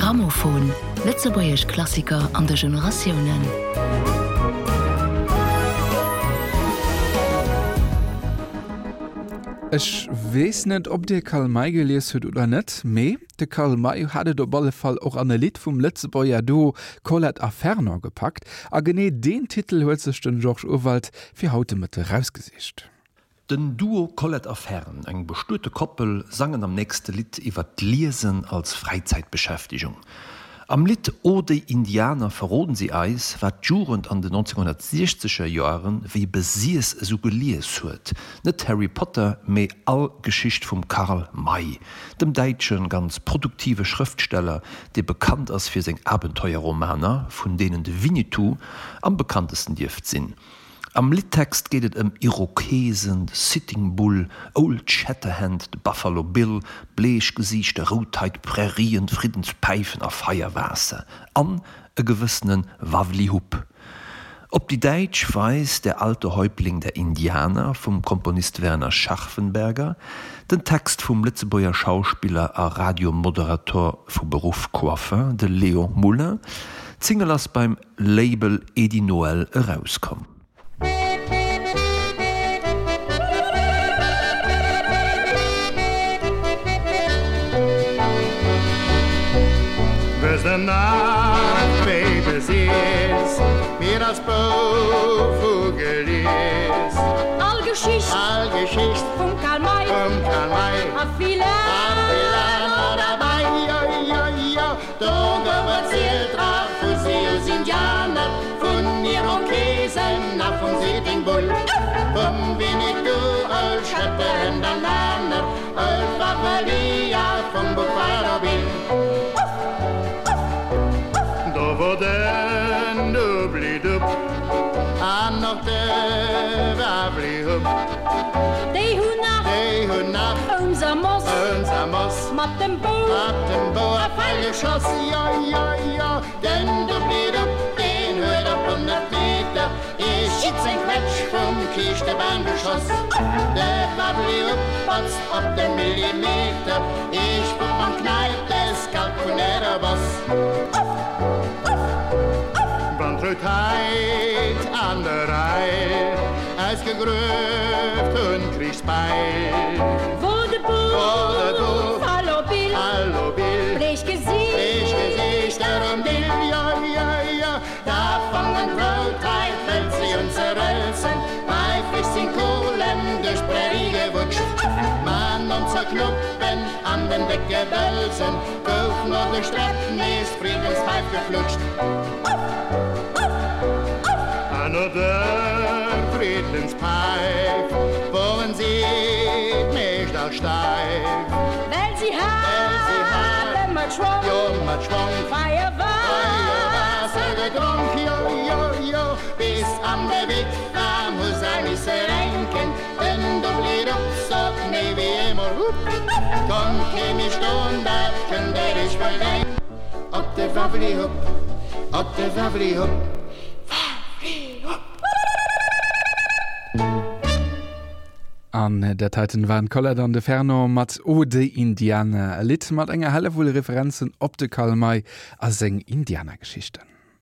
Saxophon, Lettzebuech Klassiker an der Generationioen. Ech wees net ob Dir Karl May gelees huet oder net méi de Karl May hatte der balle Fall och an Lied vum letze Boyer do Colette Aferner gepackt a gené den Titel huezechten George Urwald fir Hautemëtte rausgesicht. Den Duo Collet Affären eng bestörte Koppel sangen am nächste Lied iwwer Lisen als Freizeitbeschäftigung. Am Lied Ode Indianer verroden sie Eis war jurend an den 1960er Jahren wie besies suggeliers huet, net Harry Potter méi all Geschicht vum Karl May, dem Deitschen ganz produktive Schriftsteller, de bekannt ass fir seg Abenteuerromaner, vun denen de Winnetou am bekanntesten Dift sinn. Am Littext gehtt em um Irokesen, Sitting Bull, Old Shatterhand, de Buffalo Bill, Bleechgesichte, Rotheit, Prärien, Friedenspeifen a Feierwase, an e gewissenen Wavlihup. Ob die Deitsch weiß der alte Häuptling der Indianer vom Komponist Werner Scharfenberger, den Text vom Litzeburger Schauspieler a Radiomoderator vom Beruf Coiffeur de Leo Muller, Zingelers beim Label Edi Noel herauskommt. There's the night, baby, is mir das Vogel ist. Allgeschicht All Geschichte vom Karl May vom Kanal. a viele Vom Winnetou, Old Shatterhand, Alaner, Old Bavaria, vom Buffalo Bill. Da wo den dubli dub An noch de wabli hub De hun nach Dei hun nach unser Mos uns am Moss mat dem Bo Ab dem Boer fallgeschoss Ja, ja, ja Den dubli dub Den hört ab 100 Meter Ich schitz ein Quetsch vom Kisch der Bahngeschoss Der wabli hub Patz ab den Millimeter Ich guck am Knall des Kalkunärer Boss Bandrutheit an der Reihe als gegrüft und Kriegsbeil. Wo de Äh. Wo de Bo Bo- Hallo Bill Hallo Bill, Blech gesinn ich gesicht darum Bill, ja, ja, ja, da fangen Rotheit, wenn sie uns zerrölzen, bei Fischchen Kohlen durch Prärie gewutscht. Mann und zerknuppen an den Weggebölzen, Kauf nur durch Strecken ist Friedenspfeif geflutscht. Another Friedenspfeif, worin sieht mich da steif. Well sie Well, sie ha mat Tro Jo, mat Schwung, Feierwasser Wassergetrunk, jo, jo, jo, bis an der Witwer muss er nicht renken, denn du blieb so nie wie immer. Hup. Komm, chemisch und da könnt ihr dich wohl denken. Ob der Wabli hopp, ob der Wabli hopp. An äh, der Titan waren Collet an de Ferno mat Ode Indianer, Lit mat enger helle vu Referenzen op de Karl May as seng Indianergeschichten.